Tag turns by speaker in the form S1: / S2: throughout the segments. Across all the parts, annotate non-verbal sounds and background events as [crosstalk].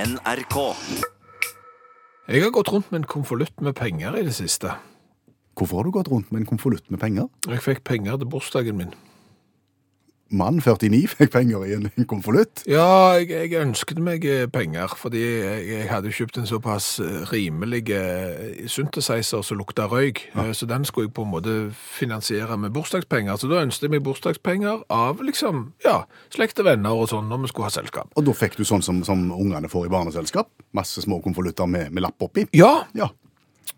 S1: NRK.
S2: Jeg har gått rundt med en konvolutt med penger i det siste.
S3: Hvorfor har du gått rundt med en konvolutt med penger?
S2: Jeg fikk penger til bursdagen min.
S3: Mann 49 [laughs] fikk penger i en en konvolutt.
S2: Ja, jeg, jeg ønsket meg eh, penger, fordi jeg, jeg hadde kjøpt en såpass eh, rimelig eh, synthesizer som lukta røyk, eh, så den skulle jeg på en måte finansiere med bursdagspenger. Så da ønsket jeg meg bursdagspenger av liksom, ja, slekt og venner og sånn når vi skulle ha selskap.
S3: Og da fikk du sånn som, som ungene får i barneselskap. Masse små konvolutter med, med lapp oppi.
S2: Ja,
S3: Ja,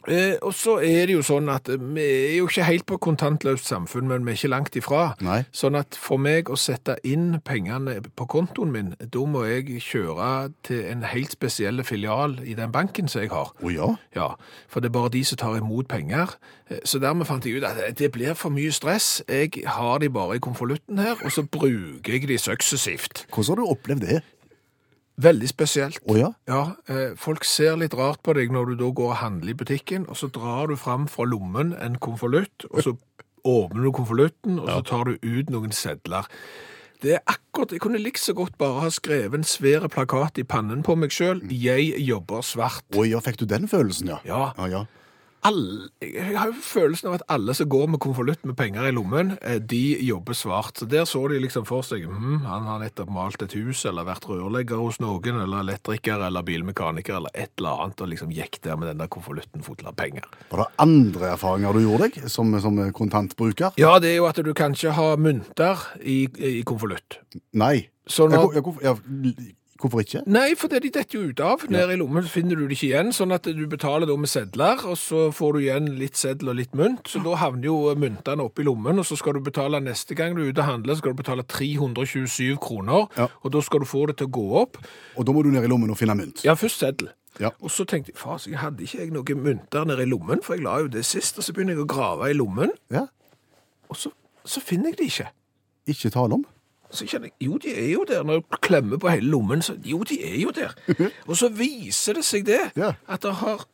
S2: Eh, og så er det jo sånn at eh, vi er jo ikke helt på kontantløst samfunn, men vi er ikke langt ifra.
S3: Nei.
S2: Sånn at for meg å sette inn pengene på kontoen min, da må jeg kjøre til en helt spesiell filial i den banken som jeg har.
S3: å ja.
S2: Ja, for det er bare de som tar imot penger. Eh, Så dermed fant jeg ut at eh, det blir for mye stress. Jeg har de bare i konvolutten her, og så bruker jeg de suksessivt.
S3: Hvordan har du opplevd det?
S2: Veldig spesielt.
S3: Å ja.
S2: Ja, eh, folk ser litt rart på deg når du da går og handler i butikken, og så drar du fram fra lommen en konvolutt, og så [laughs] åpner du konvolutten, og så tar du ut noen sedler. Det er akkurat, Jeg kunne like så godt bare ha skrevet en svær plakat i pannen på meg sjøl. 'Jeg jobber svart'.
S3: Å ja, fikk du den følelsen, ja?
S2: Ja.
S3: ja, ja.
S2: Alle, jeg har jo følelsen av at alle som går med konvolutt med penger i lommen, eh, de jobber svart. Så Der så de liksom for seg hm, han har nettopp malt et hus, eller vært rørlegger hos noen, eller elektriker, eller bilmekaniker, eller et eller annet, og liksom gikk der med den der konvolutten fotla penger.
S3: Var det andre erfaringer du gjorde deg som, som kontantbruker?
S2: Ja, det er jo at du kan ikke ha mynter i, i konvolutt.
S3: Nei.
S2: Så når-
S3: Ja, hvor- ja, hvorfor, ja, hvorfor ikke?
S2: Nei, for det de detter jo ut av. Nede i lommen finner du det ikke igjen, sånn at du betaler da med sedler, og så får du igjen litt seddel og litt mynt, så da havner jo myntene oppi lommen, og så skal du betale neste gang du er ute og handler, så skal du betale 327 kroner,
S3: Ja.
S2: og da skal du få det til å gå opp.
S3: Og da må du ned i lommen og finne mynt.
S2: Ja, først seddel.
S3: Ja.
S2: Og så tenkte jeg, faen, så jeg hadde ikke jeg noen mynter nede i lommen, for jeg la jo det sist, og så begynner jeg å grave i lommen,
S3: Ja,
S2: og så, så finner jeg det ikke.
S3: Ikke tale om.
S2: Så kjenner jeg, jo, de er jo der. Når jeg klemmer på hele lommen, så jo, de er jo der. Og så viser det seg det,
S3: Ja.
S2: at det har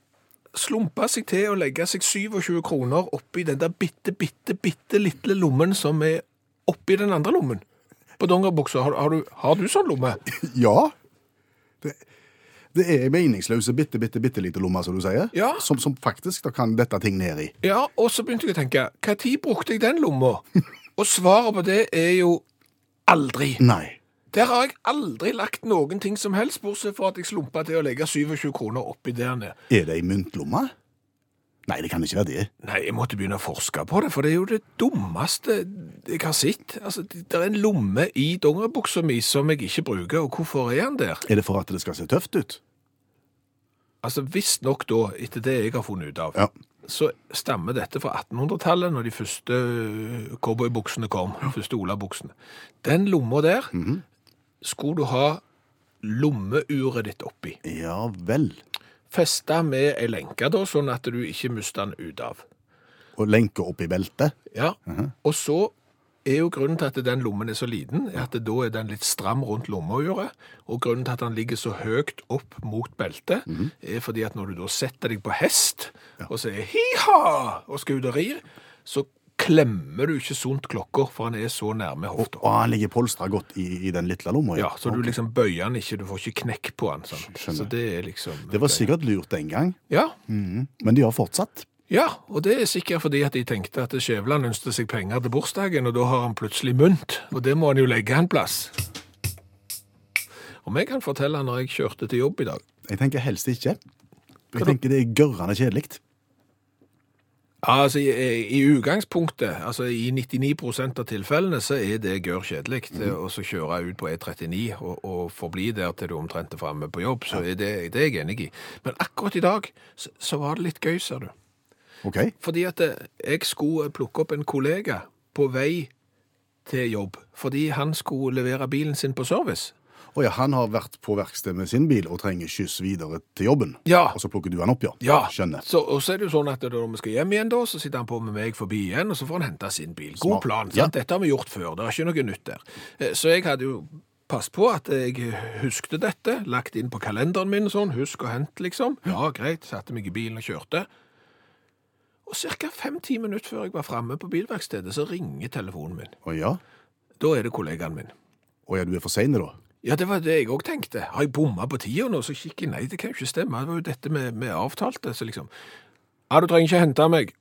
S2: slumpa seg til å legge seg 27 kroner oppi den der bitte, bitte, bitte lille lommen som er oppi den andre lommen. På dongeribuksa. Har, har, du- har du sånn lomme?
S3: Ja. Det, det er meningsløse bitte, bitte, bitte lite lommer, som du sier.
S2: Ja.
S3: Som, som faktisk da kan dette ting ned i.
S2: Ja, og så begynte jeg å tenke, hva tid brukte jeg den lomma? Og svaret på det er jo aldri.
S3: Nei.
S2: Der har jeg aldri lagt noen ting som helst, bortsett fra at jeg slumpa til å legge 27 kroner oppi der nede.
S3: Er det ei myntlomme? Nei, det kan ikke være det.
S2: Nei, jeg måtte begynne å forske på det, for det er jo det dummeste jeg har sett. Altså, det det er en lomme i dongeribuksa mi som jeg ikke bruker, og hvorfor er den der?
S3: Er det for at det skal se tøft ut?
S2: Altså, Visstnok da, etter det jeg har funnet ut av,
S3: Ja.
S2: så stammer dette fra 1800-tallet, når de første øh, cowboybuksene kom. de første olabuksene. Den lomma der skulle du ha lommeuret ditt oppi.
S3: Ja vel.
S2: Festa med ei lenke, da, sånn at du ikke mister den ut av.
S3: Og lenke oppi beltet?
S2: Ja,
S3: Mhm.
S2: og så er jo grunnen til at den lommen er så liten, er at da er den litt stram rundt lommeuret, og grunnen til at den ligger så høyt opp mot beltet,
S3: Mhm.
S2: er fordi at når du da setter deg på hest, og sier hi-ha, og skal ut og rir, så klemmer du ikke sunt klokker, for han er så nærme hofta.
S3: Og han ligger polstra godt i, i den lille lomma.
S2: Ja, så du liksom bøyer han ikke, du får ikke knekk på han, sant?
S3: Skjønner.
S2: Så det er liksom...
S3: Det var sikkert lurt den gang, Mm.
S2: Ja,
S3: men de har fortsatt.
S2: Ja, og det er sikkert fordi at de tenkte at Skjæveland ønsket seg penger til bursdagen, og da har han plutselig mynt, og det må han jo legge en plass. Om jeg kan fortelle når jeg kjørte til jobb i dag.
S3: Jeg tenker helst ikke.
S2: Hva
S3: Jeg
S2: da?
S3: tenker det er gørrende kjedelig.
S2: Altså, i, i utgangspunktet, altså i 99 av tilfellene, så er det gørr kjedelig. det å så kjøre ut på E39 og, og forbli der til du omtrent er framme på jobb, så er det, det er jeg enig i. Men akkurat i dag så, så var det litt gøy, sa du.
S3: OK?
S2: Fordi at eh, jeg skulle plukke opp en kollega på vei til jobb, fordi han skulle levere bilen sin på service.
S3: Å ja, han har vært på verksted med sin bil og trenger skyss videre til jobben.
S2: Ja.
S3: Og så plukker du han opp, ja.
S2: Ja,
S3: Skjønner.
S2: Så, og så er det jo sånn at når vi skal hjem igjen da, så sitter han på med meg forbi igjen, og så får han hente sin bil. God
S3: Smart.
S2: plan,
S3: Ja.
S2: sant? Dette har vi gjort før, det er ikke noe nytt der. Eh, Så jeg hadde jo passet på at jeg huskte dette, lagt inn på kalenderen min sånn, husk og hent liksom. Ja, greit, satte meg i bilen og kjørte. Og cirka fem-ti minutter før jeg var fremme på bilverkstedet, så ringer telefonen min.
S3: Å ja?
S2: Da er det kollegaen min.
S3: Å ja, du er for sein, da?
S2: Ja, det var det jeg òg tenkte. Har jeg bomma på tida nå? Så kikker jeg, nei, det kan jo ikke stemme. Det var jo dette med, med avtalte. Så liksom Ja, du trenger ikke hente meg.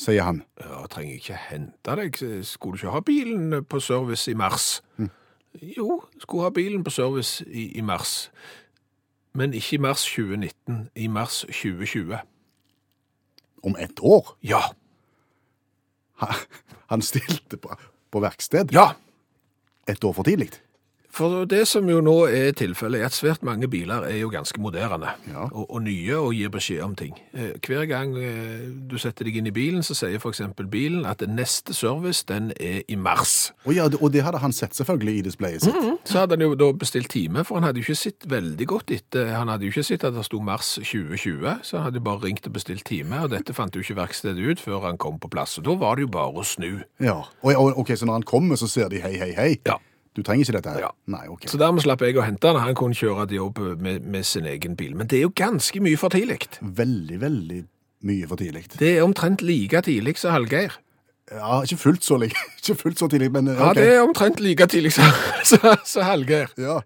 S3: sier han.
S2: Ja, trenger jeg ikke hente deg? Skulle du ikke ha bilen på service i mars? Jo, skulle ha bilen på service i, i mars. Men ikke i mars 2019, i mars 2020.
S3: Om ett år?
S2: Ja.
S3: Ha- Han stilte på, på verksted
S2: Ja!
S3: ett år for tidlig.
S2: For det som jo nå er tilfellet, er at svært mange biler er jo ganske moderne
S3: Ja.
S2: og, og nye og gir beskjed om ting. Eh, Hver gang eh, du setter deg inn i bilen, så sier for eksempel bilen at neste service, den er i mars.
S3: Og, ja, det- og det hadde han sett selvfølgelig i displayet sitt.
S2: Så hadde han jo da bestilt time, for han hadde jo ikke sett veldig godt etter. Han hadde jo ikke sett at det sto mars 2020, så han hadde jo bare ringt og bestilt time, og dette fant jo ikke verkstedet ut før han kom på plass. Og da var det jo bare å snu.
S3: Ja, og, og, ok, Så når han kommer, så ser de hei, hei, hei?
S2: Ja.
S3: Du trenger ikke dette her?
S2: Ja.
S3: Nei, ok.
S2: Så dermed slapp jeg å hente han, han kunne kjøre til jobb med, med sin egen bil. Men det er jo ganske mye for tidlig.
S3: Veldig, veldig mye for tidlig.
S2: Det er omtrent like tidlig som Hallgeir.
S3: Ja, ikke fullt så, li- [laughs] ikke fullt så tidlig, men eh,
S2: Ja,
S3: ok.
S2: det er omtrent like tidlig som [laughs] som- som Hallgeir.
S3: Ja.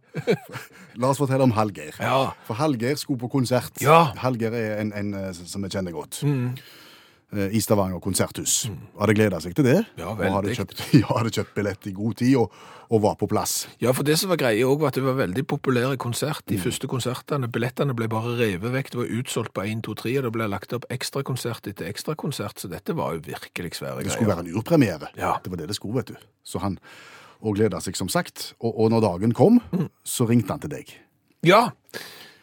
S3: La oss fortelle om Hallgeir.
S2: Ja.
S3: For Hallgeir skulle på konsert.
S2: Ja. Mm.
S3: Hallgeir er en, en eh, som vi kjenner godt. Eh, I Stavanger konserthus. Hadde gleda seg til det.
S2: Ja,
S3: og hadde
S2: veldig.
S3: kjøpt, [laughs] ja, hadde kjøpt billett i god tid og, og var på plass.
S2: Ja, for det som var greia òg, var at det var veldig populære konsert. De første konsertene. Billettene ble bare revet vekk. Det var utsolgt på 1, 2, 3, og det ble lagt opp ekstrakonsert etter ekstrakonsert, så dette var jo virkelig svære
S3: Det skulle
S2: greier.
S3: være en urpremiere.
S2: Ja.
S3: Det var det det skulle, vet du. Så han og gleda seg, som sagt. Og, og når dagen kom,
S2: Mm.
S3: så ringte han til deg.
S2: Ja,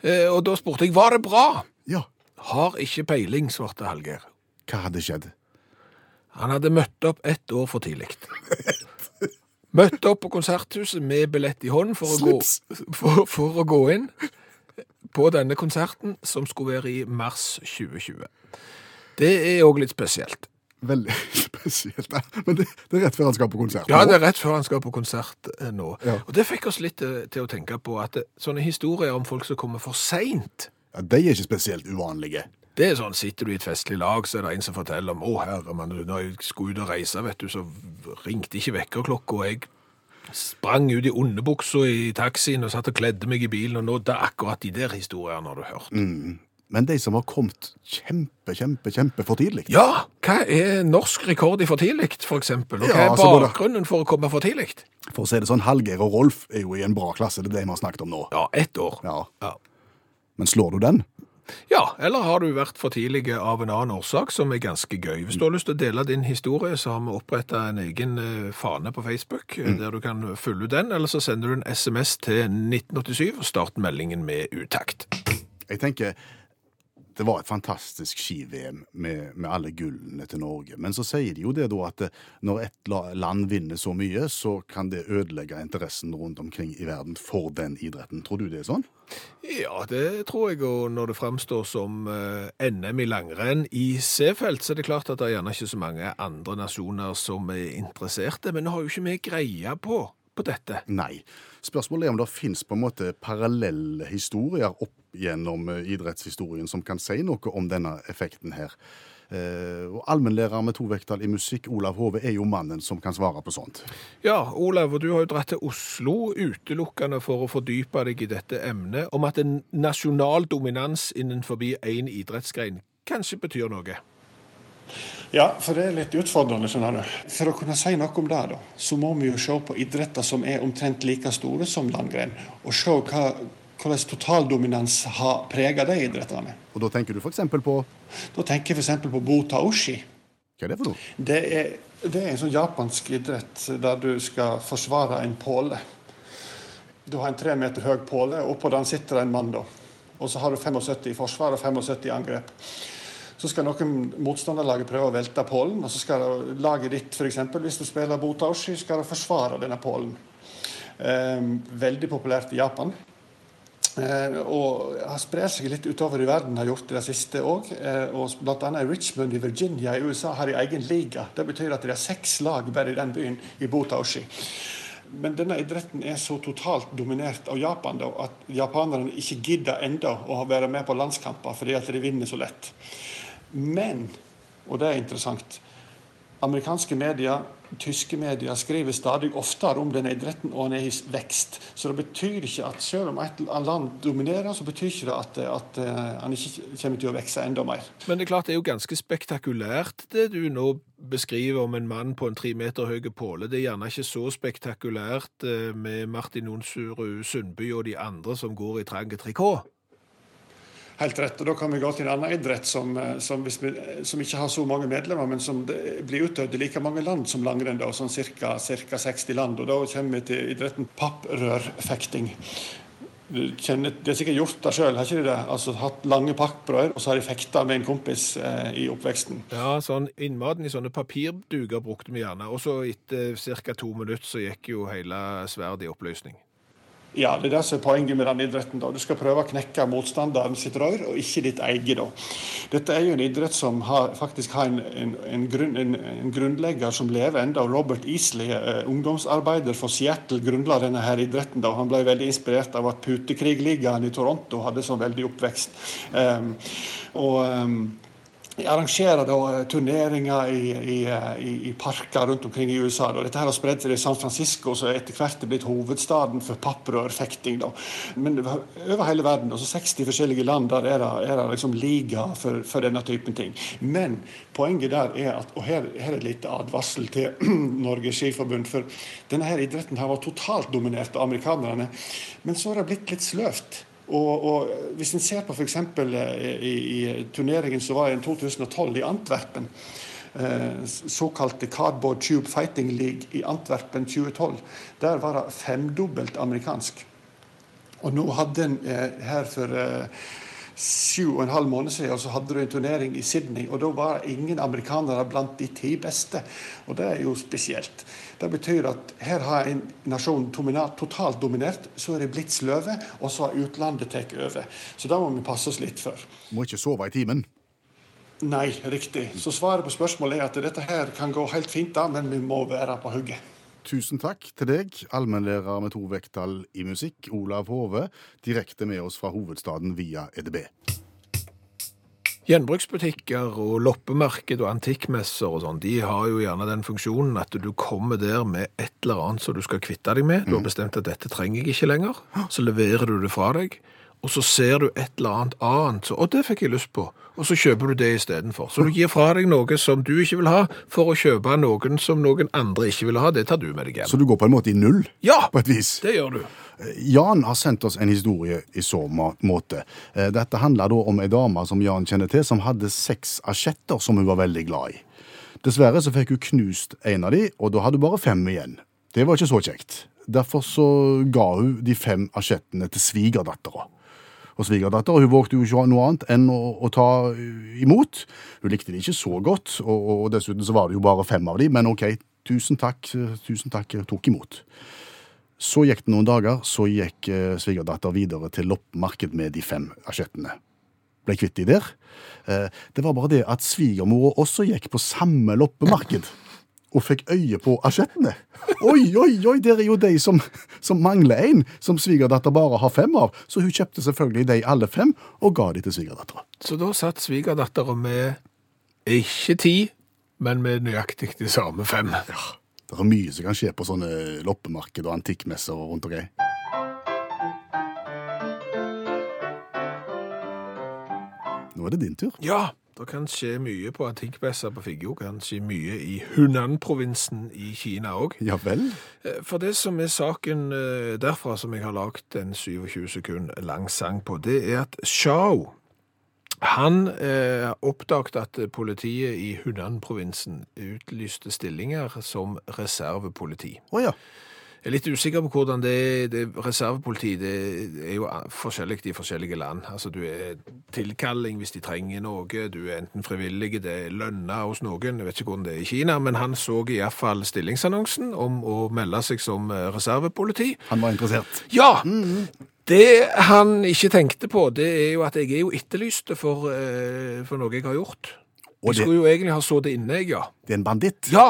S2: Eh, og da spurte jeg var det bra.
S3: Ja.
S2: Har ikke peiling, svarte Hallgeir.
S3: Hva hadde skjedd?
S2: Han hadde møtt opp ett år for [laughs] tidlig. Møtt opp på konserthuset med billett i hånd for å, gå,
S3: Slips.
S2: for, for å gå inn på denne konserten, som skulle være i mars 2020. Det er òg litt spesielt.
S3: Veldig [laughs] spesielt. da. Men det, det er rett før han skal på konsert.
S2: Ja,
S3: nå.
S2: det er rett før han skal på konsert eh, nå.
S3: Ja.
S2: Og det fikk oss litt eh, til å tenke på at eh, sånne historier om folk som kommer for seint
S3: Ja, de er ikke spesielt uvanlige.
S2: Det er sånn, sitter du i et festlig lag, så er det en som forteller om, å herre, men når jeg skulle ut og reise, vet du, så ringte ikke vekkerklokka, og jeg sprang ut i underbuksa i taxien og satt og kledde meg i bilen, og nå, det er akkurat de der historiene har du hørt.
S3: Men de som har kommet kjempe, kjempe, kjempe for tidlig.
S2: Ja, hva er norsk rekord i for tidlig, for eksempel, og hva
S3: Ja, altså,
S2: er
S3: så må det-
S2: bakgrunnen for å komme for tidlig?
S3: For å si det sånn, Hallgeir og Rolf er jo i en bra klasse, det er det vi har snakket om nå.
S2: Ja, ett år.
S3: Ja.
S2: Ja.
S3: Men slår du den?
S2: Ja, eller har du vært for tidlig av en annen årsak, som er ganske gøy. Hvis du har lyst til å dele din historie, så har vi oppretta en egen eh, fane på Facebook, eh,
S3: Mm.
S2: der du kan følge den, eller så sender du en SMS til 1987 og start meldingen med utakt.
S3: Jeg tenker, det var et fantastisk ski-VM med, med alle gullene til Norge. Men så sier de jo det da at eh, når et la- land vinner så mye, så kan det ødelegge interessen rundt omkring i verden for den idretten. Tror du det er sånn?
S2: Ja, det tror jeg, og når det framstår som eh, NM i langrenn i Seefeld, så er det klart at det er gjerne ikke så mange andre nasjoner som er interesserte, men nå har jo ikke vi greie på, på dette.
S3: Nei. Spørsmålet er om det fins på en måte parallelle historier opp gjennom eh, idrettshistorien som kan si noe om denne effekten her. Eh, og Allmennlærer med to vekttall i musikk, Olav Hove, er jo mannen som kan svare på sånt.
S2: Ja, Olav, og du har jo dratt til Oslo utelukkende for å fordype deg i dette emnet om at en nasjonal dominans innenfor én idrettsgrein kanskje betyr noe.
S1: Ja, for det er litt utfordrende. skjønner du. For å kunne si noe om det, da, så må vi jo se på idretter som er omtrent like store som langrenn, og se hva, hvordan totaldominans har preget de idrettene.
S3: Og da tenker du f.eks. på Hva
S1: Da tenker jeg f.eks. på botaoshi.
S3: er det for noe?
S1: Det er, det er en sånn japansk idrett der du skal forsvare en påle. Du har en tre meter høy påle, og oppå den sitter det en mann. da. Og så har du 75 i forsvar og 75 i angrep. Så skal noen motstanderlaget prøve å velte pålen, og så skal det- laget ditt, for eksempel, hvis du spiller botaoshi, skal det forsvare denne pålen. Ehm, veldig populært i Japan. Eh, og har sprer seg litt utover i verden, har gjort det det siste òg. Eh, og bl.a. i Richmond i Virginia i USA har de egen liga. Det betyr at det er seks lag bare i den byen, i Botaoshi. Men denne idretten er så totalt dominert av Japan da, at japanerne ikke gidder enda å være med på landskamper fordi at de vinner så lett. Men, og det er interessant, Amerikanske medier, tyske medier, skriver stadig oftere om denne idretten, og den er i vekst. Så det betyr ikke at selv om et land dominerer, så betyr ikke det at, at eh, han ikke kommer til å vokse enda mer.
S2: Men det er klart det er jo ganske spektakulært det du nå beskriver om en mann på en tre meter høy påle. Det er gjerne ikke så spektakulært eh, med Martin Onsuru Sundby og de andre som går i trange trikot.
S1: Helt rett. og Da kan vi gå til en annen idrett som, eh, som, hvis vi, som ikke har så mange medlemmer, men som det blir utøvd i like mange land som langrenn, da, sånn ca. 60 land. og Da kommer vi til idretten papprørfekting. Du kjenner, de har sikkert gjort det sjøl, har ikke de det? Altså hatt lange papprør, og så har de fekta med en kompis eh, i oppveksten.
S2: Ja, sånn innmaten i sånne papirduker brukte vi gjerne, og så etter ca. to minutter så gikk jo hele sverdet i oppløsning.
S1: Ja, det er det som er poenget med den idretten. da. Du skal prøve å knekke motstanderen sitt rør, og ikke ditt eget. da. Dette er jo en idrett som har, faktisk har en, en, en, grunn, en, en grunnlegger som lever ennå. Robert Easley, eh, ungdomsarbeider for Seattle, grunnla denne her idretten. da. Han ble veldig inspirert av at putekrigligaen i Toronto hadde sånn veldig oppvekst. Ehm, og... ehm, jeg arrangerer da eh, turneringer i, i, eh, i, i parker rundt omkring i USA. Da. Dette her har spredt seg i San Francisco, som etter hvert er blitt hovedstaden for papprørfekting. da. Men over hele verden, altså 60 forskjellige land, der er det, er det liksom liga for, for denne typen ting. Men poenget der er at Og her, her er et lite advarsel til [clears throat] Norges Skiforbund. For denne her idretten her var totalt dominert av amerikanerne. Men så har det blitt litt sløvt. Og, og Hvis en ser på f.eks. I, i turneringen som var i 2012 i Antwerpen, eh, såkalte Cardboard Tube Fighting League i Antwerpen 2012, der var det femdobbelt amerikansk. Og nå hadde en eh, her for eh, sju og en halv måned siden og så hadde du en turnering i Sydney, og da var det ingen amerikanere blant de ti beste. Og det er jo spesielt. Det betyr at her har en nasjon domina- totalt dominert, så er de blitt sløve, og så har utlandet tatt over. Så det må vi passe oss litt for.
S3: Må ikke sove i timen.
S1: Nei, riktig. Så svaret på spørsmålet er at dette her kan gå helt fint, da, men vi må være på hugget.
S3: Tusen takk til deg, allmennlærer med to vekttall i musikk, Olav Hove, direkte med oss fra hovedstaden via E EDB.
S2: Gjenbruksbutikker og loppemarked og antikkmesser og sånn, de har jo gjerne den funksjonen at du kommer der med et eller annet som du skal kvitte deg med. Du har bestemt at dette trenger jeg ikke lenger. Så leverer du det fra deg, og så ser du et eller annet annet. Så, og det fikk jeg lyst på. Og så kjøper du det istedenfor. Så du gir fra deg noe som du ikke vil ha, for å kjøpe noen som noen andre ikke vil ha. Det tar du med deg hjem.
S3: Så du går på en måte i null?
S2: Ja,
S3: På et vis.
S2: det gjør du.
S3: Jan har sendt oss en historie i så ma- måte. Eh, Dette handler da om ei dame som Jan kjenner til, som hadde seks asjetter som hun var veldig glad i. Dessverre så fikk hun knust en av de, og da hadde hun bare fem igjen. Det var ikke så kjekt. Derfor så ga hun de fem asjettene til svigerdattera. Og svigerdattera hun vågte jo ikke ha noe annet enn å, å ta eh, imot. Hun likte de ikke så godt, og, og dessuten så var det jo bare fem av de, men ok, tusen takk, eh, tusen takk, jeg tok imot. Så gikk det noen dager, så gikk eh, svigerdatter videre til loppemarked med de fem asjettene. Ble kvitt de der. Eh, Det var bare det at svigermora også gikk på samme loppemarked. Og fikk øye på asjettene. Oi, oi, oi, der er jo de som, som mangler én, som svigerdatter bare har fem av. Så hun kjøpte selvfølgelig de alle fem, og ga de til svigerdattera.
S2: Så da satt svigerdattera med ikke ti, men med nøyaktig de samme fem.
S3: Det er mye som kan skje på sånne loppemarked og antikkmesser og rundt omkring. Nå er det din tur.
S2: Ja, det kan skje mye på antikkbesser på Figgjo, kan skje mye i Hunan-provinsen i Kina òg.
S3: Ja vel?
S2: For det som er saken eh, derfra, som jeg har lagd en 27 sekund lang sang på, det er at Shao han eh, oppdaget at politiet i Hunan-provinsen utlyste stillinger som reservepoliti.
S3: Å ja.
S2: Jeg er litt usikker på hvordan det, det Reservepoliti det er jo forskjellig i forskjellige land. Altså, du er tilkalling hvis de trenger noe, du er enten frivillig, det er lønna hos noen. Jeg vet ikke hvordan det er i Kina, men han så iallfall stillingsannonsen om å melde seg som eh, reservepoliti.
S3: Han var interessert.
S2: Ja! Det han ikke tenkte på, det er jo at jeg er jo etterlyst for, eh, for noe jeg har gjort.
S3: Og
S2: Jeg
S3: det,
S2: skulle jo egentlig ha sittet inne, jeg, ja.
S3: det er en banditt.
S2: Ja!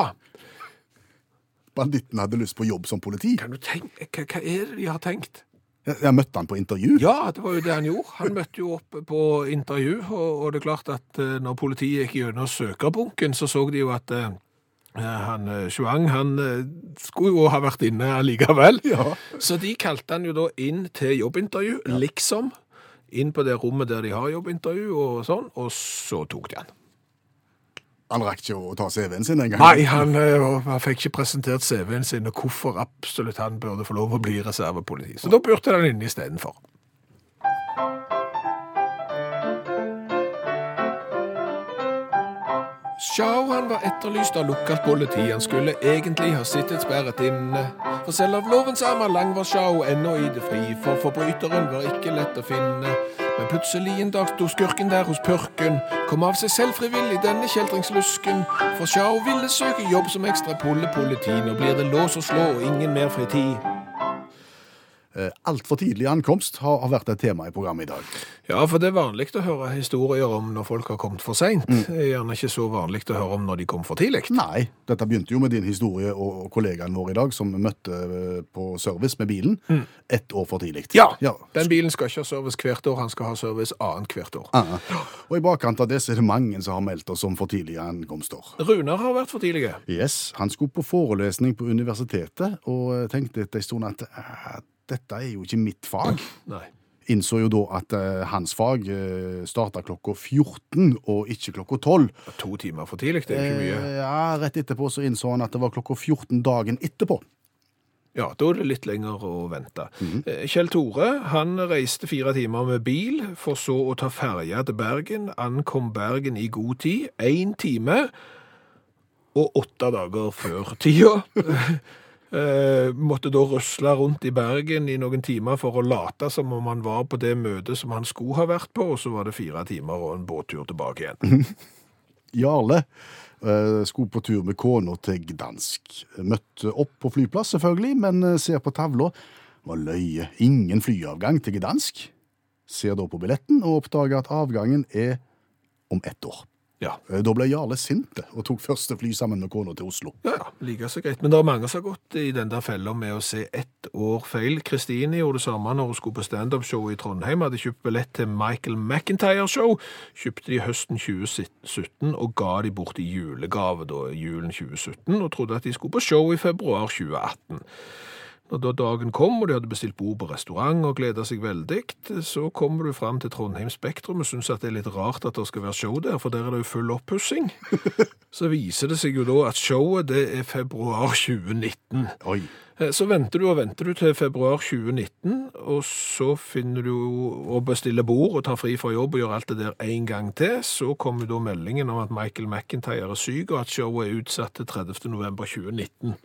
S3: Banditten hadde lyst på jobb som politi.
S2: Kan du tenke, hva, hva er det de har tenkt?
S3: Jeg, jeg møtte han på intervju.
S2: Ja, det var jo det han gjorde. Han møtte jo opp på intervju, og, og det er klart at eh, når politiet gikk gjennom søkerbunken, så så de jo at eh, Eh, Han eh, Chuang han eh, skulle jo ha vært inne allikevel. Så de kalte han jo da inn til jobbintervju, liksom. Inn på det rommet der de har jobbintervju og sånn, og så tok de han.
S3: Han rakk ikke å ta CV-en sin engang.
S2: Nei, han, eh, han fikk ikke presentert CV-en sin og hvorfor absolutt han burde få lov å bli reservepoliti. Så da burde han inne istedenfor. Sjau han var etterlyst av lukket politi. Han skulle egentlig ha sittet sperret inne. For selv av lovens armer lang var Sjau ennå i det fri, for forbryteren var ikke lett å finne. Men plutselig en dag sto skurken der hos purken. Kom av seg selv frivillig, denne kjeltringslusken. For Sjau ville søke jobb som ekstra pollepoliti. Nå blir det lås og slå og ingen mer fritid.
S3: Eh, Altfor tidlig ankomst har, har vært et tema i programmet i dag.
S2: Ja, for det er vanlig å høre historier om når folk har kommet for seint. Gjerne ikke så vanlig å høre om når de kom for tidlig.
S3: Nei, dette begynte jo med din historie og og kollegaen vår i dag, som vi møtte eh, på service med bilen ett år for tidlig.
S2: Mm. ja. Den bilen skal ikke ha service hvert år, han skal ha service annet hvert år.
S3: Ah. Og i bakkant av det så er det mange som har meldt oss om for tidlige ankomster.
S2: Runar har vært for tidlige.
S3: Yes, Han skulle på forelesning på universitetet og eh, tenkte etter en stund at eh, dette er jo ikke mitt fag.
S2: Nei.
S3: Innså jo da at eh, hans fag eh, starta klokka 14 og ikke klokka 12.
S2: To timer for tidlig, det er ikke mye.
S3: Eh, ja, Rett etterpå så innså han at det var klokka 14 dagen etterpå.
S2: Ja, da er det litt lenger å vente. Eh, Kjell Tore han reiste fire timer med bil, for så å ta ferja til Bergen. Ankom Bergen i god tid, én time og åtte dager før tida. [laughs] Eh, måtte da rusle rundt i Bergen i noen timer for å late som om han var på det møtet som han skulle ha vært på, og så var det fire timer og en båttur tilbake igjen.
S3: Jarle eh, skulle på tur med kona til Gdansk. Møtte opp på flyplass, selvfølgelig, men eh, ser på tavla. Var løye. Ingen flyavgang til Gdansk. Ser da på billetten og oppdager at avgangen er om ett år.
S2: Ja,
S3: Eh, Da ble Jarle sint og tok første fly sammen med kona til Oslo.
S2: Ja, ja, like så greit. Men det er mange som har gått i den der fella med å se ett år feil. Kristine gjorde det samme når hun skulle på standup-show i Trondheim. Hadde kjøpt billett til Michael McIntyre-show. Kjøpte de høsten 2017 og ga de bort i julegave da, julen 2017, og trodde at de skulle på show i februar 2018. Og da dagen kom, og de hadde bestilt bord på restaurant og gleda seg veldig, så kommer du fram til Trondheim Spektrum og syns at det er litt rart at det skal være show der, for der er det jo full oppussing. Så viser det seg jo da at showet det er februar 2019.
S3: Oi.
S2: Eh, Så venter du og venter du til februar 2019, og så finner du jo å bestille bord og ta fri fra jobb og gjøre alt det der en gang til. Så kommer jo da meldingen om at Michael McIntyre er syk, og at showet er utsatt til 30. november 2019.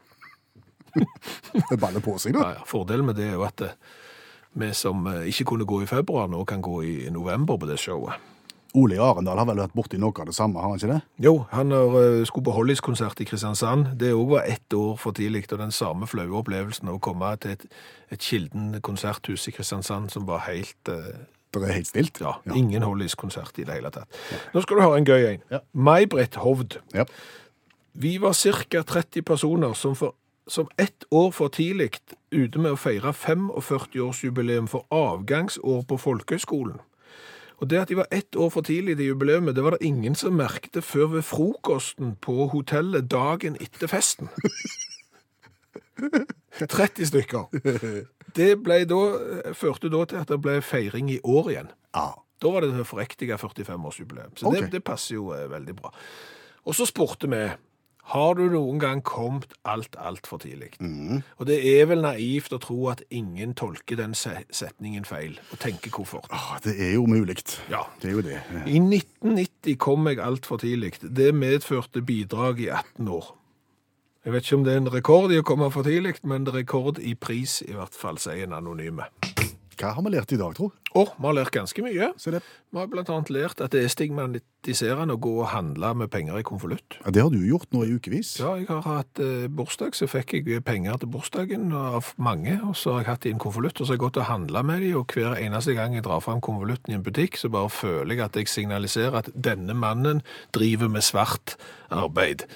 S3: Det [laughs] baller på seg,
S2: Ja,
S3: da.
S2: ja. Fordelen med det er jo at eh, vi som eh, ikke kunne gå i februar, nå kan gå i november på det showet.
S3: Ole Arendal har vel vært borti noe av det samme, har han ikke det?
S2: Jo, han har, eh, skulle på Hollies-konsert i Kristiansand. Det òg var ett år for tidlig, og den samme flaue opplevelsen av å komme til et, et Kilden konserthus i Kristiansand som var helt eh,
S3: Det er helt stilt.
S2: Ja, ingen Hollies-konsert i det hele tatt. Nå skal du høre en gøy en.
S3: Ja.
S2: May-Britt Hovd.
S3: Ja.
S2: Vi var ca. 30 personer som, for, som ett år for tidlig ute med å feire 45-årsjubileum for avgangsår på folkehøyskolen. Og det at de var ett år for tidlig til jubileet, det var det ingen som merkte før ved frokosten på hotellet dagen etter festen. 30 stykker. Det ble da, førte da til at det ble feiring i år igjen.
S3: Ja.
S2: Da var det det forektige 45-årsjubileum. Så
S3: Ok.
S2: det, det passer jo eh, veldig bra. Og så spurte vi har du noen gang kommet alt altfor tidlig. Og det er vel naivt å tro at ingen tolker den se- setningen feil, og tenker hvorfor.
S3: Ah, Det er jo mulig.
S2: Ja.
S3: Det er jo det.
S2: I 1990 kom jeg altfor tidlig. Det medførte bidrag i 18 år. Jeg vet ikke om det er en rekord i å komme for tidlig, men det er rekord i pris, i hvert fall, sier en anonyme.
S3: Hva har vi lært i dag, tro?
S2: Og vi har lært ganske mye.
S3: Se det.
S2: Vi har blant annet lært at det er stigmatiserende å gå og handle med penger i konvolutt.
S3: Ja, det har du gjort nå i ukevis.
S2: Ja, jeg har hatt eh, bursdag, så fikk jeg eh, penger til bursdagen av mange, og så har jeg hatt det i en konvolutt, og så har jeg gått og handla med dem, og hver eneste gang jeg drar fram konvolutten i en butikk, så bare føler jeg at jeg signaliserer at denne mannen driver med svart arbeid.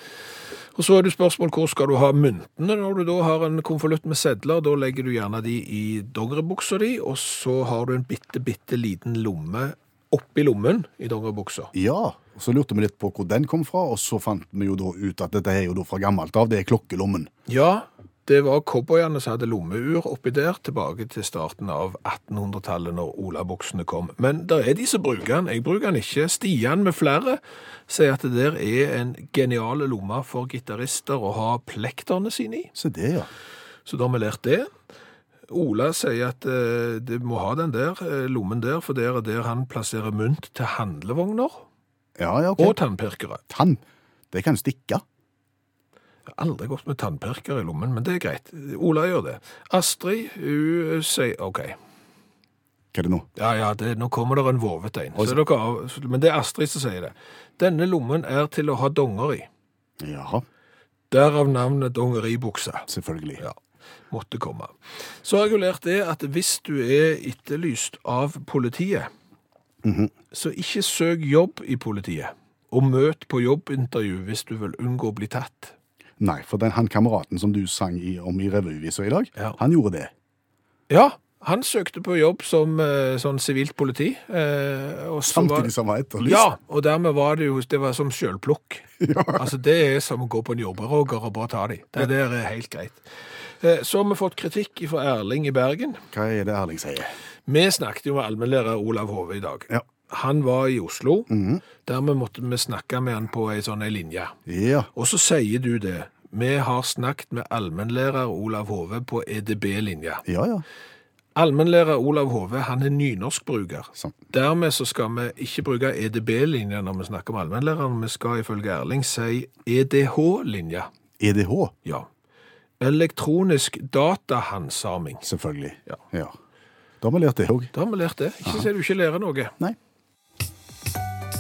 S2: Og så er det spørsmål hvor skal du ha myntene når du da har en konvolutt med sedler. Da legger du gjerne de i dongeribuksa di, og så har du en bitte, bitte liten lomme oppi lommen i dongeribuksa.
S3: Ja, og så lurte vi litt på hvor den kom fra, og så fant vi jo da ut at dette er jo da fra gammelt av, det er klokkelommen.
S2: Ja, det var cowboyene som hadde lommeur oppi der, tilbake til starten av 1800-tallet når olabuksene kom. Men det er de som bruker den. Jeg bruker den ikke. Stian med flere sier at det der er en genial lomme for gitarister å ha plekterne sine i.
S3: Se det, ja.
S2: Så da har vi lært det. Ola sier at eh, det må ha den der eh, lommen der, for det er der han plasserer mynt til handlevogner
S3: Ja, ja, ok.
S2: og tannpirkere.
S3: tann. Det kan stikke.
S2: Jeg har aldri gått med tannpirker i lommen, men det er greit. Ola gjør det. Astrid, hun eh, sier OK.
S3: Hva er det nå?
S2: Ja, ja, det, nå kommer det en vovet en. Så dere, av- men det er Astrid som sier det. Denne lommen er til å ha donger i.
S3: Jaha,
S2: Derav navnet dongeribukse.
S3: selvfølgelig.
S2: Ja, måtte komme. Så har jeg jo lært det at hvis du er etterlyst av politiet, så ikke søk jobb i politiet, og møt på jobbintervju hvis du vil unngå å bli tatt.
S3: Nei, for den, han kameraten som du sang i, om i revyvisa i dag,
S2: Ja.
S3: han gjorde det.
S2: Ja, han søkte på jobb som eh, sånn sivilt politi. eh, og så var-
S3: Samtidig som han var etterlyst.
S2: Ja, og dermed var det jo det var som sjølplukk. Altså, det er som å gå på en jordbærroger og bare ta de. Det der er helt greit. Eh, Så har vi fått kritikk fra Erling i Bergen.
S3: Hva er det Erling sier?
S2: Vi snakket jo med allmennlærer Olav Hove i dag.
S3: Ja.
S2: Han var i Oslo. Dermed måtte vi snakke med han på ei sånn ei linje.
S3: Ja,
S2: Og så sier du det. Vi har snakket med allmennlærer Olav Hove på EDB-linja.
S3: ja, ja.
S2: Allmennlærer Olav Hove han er nynorskbruker.
S3: Sant.
S2: Dermed så skal vi ikke bruke EDB-linja når vi snakker om allmennlæreren. Vi skal ifølge Erling si EDH-linja.
S3: EDH,
S2: Ja. Elektronisk datahandsaming.
S3: selvfølgelig.
S2: Ja.
S3: Da har vi lært det òg.
S2: Da har vi lært det. Ikke si du ikke lærer noe.
S3: Nei.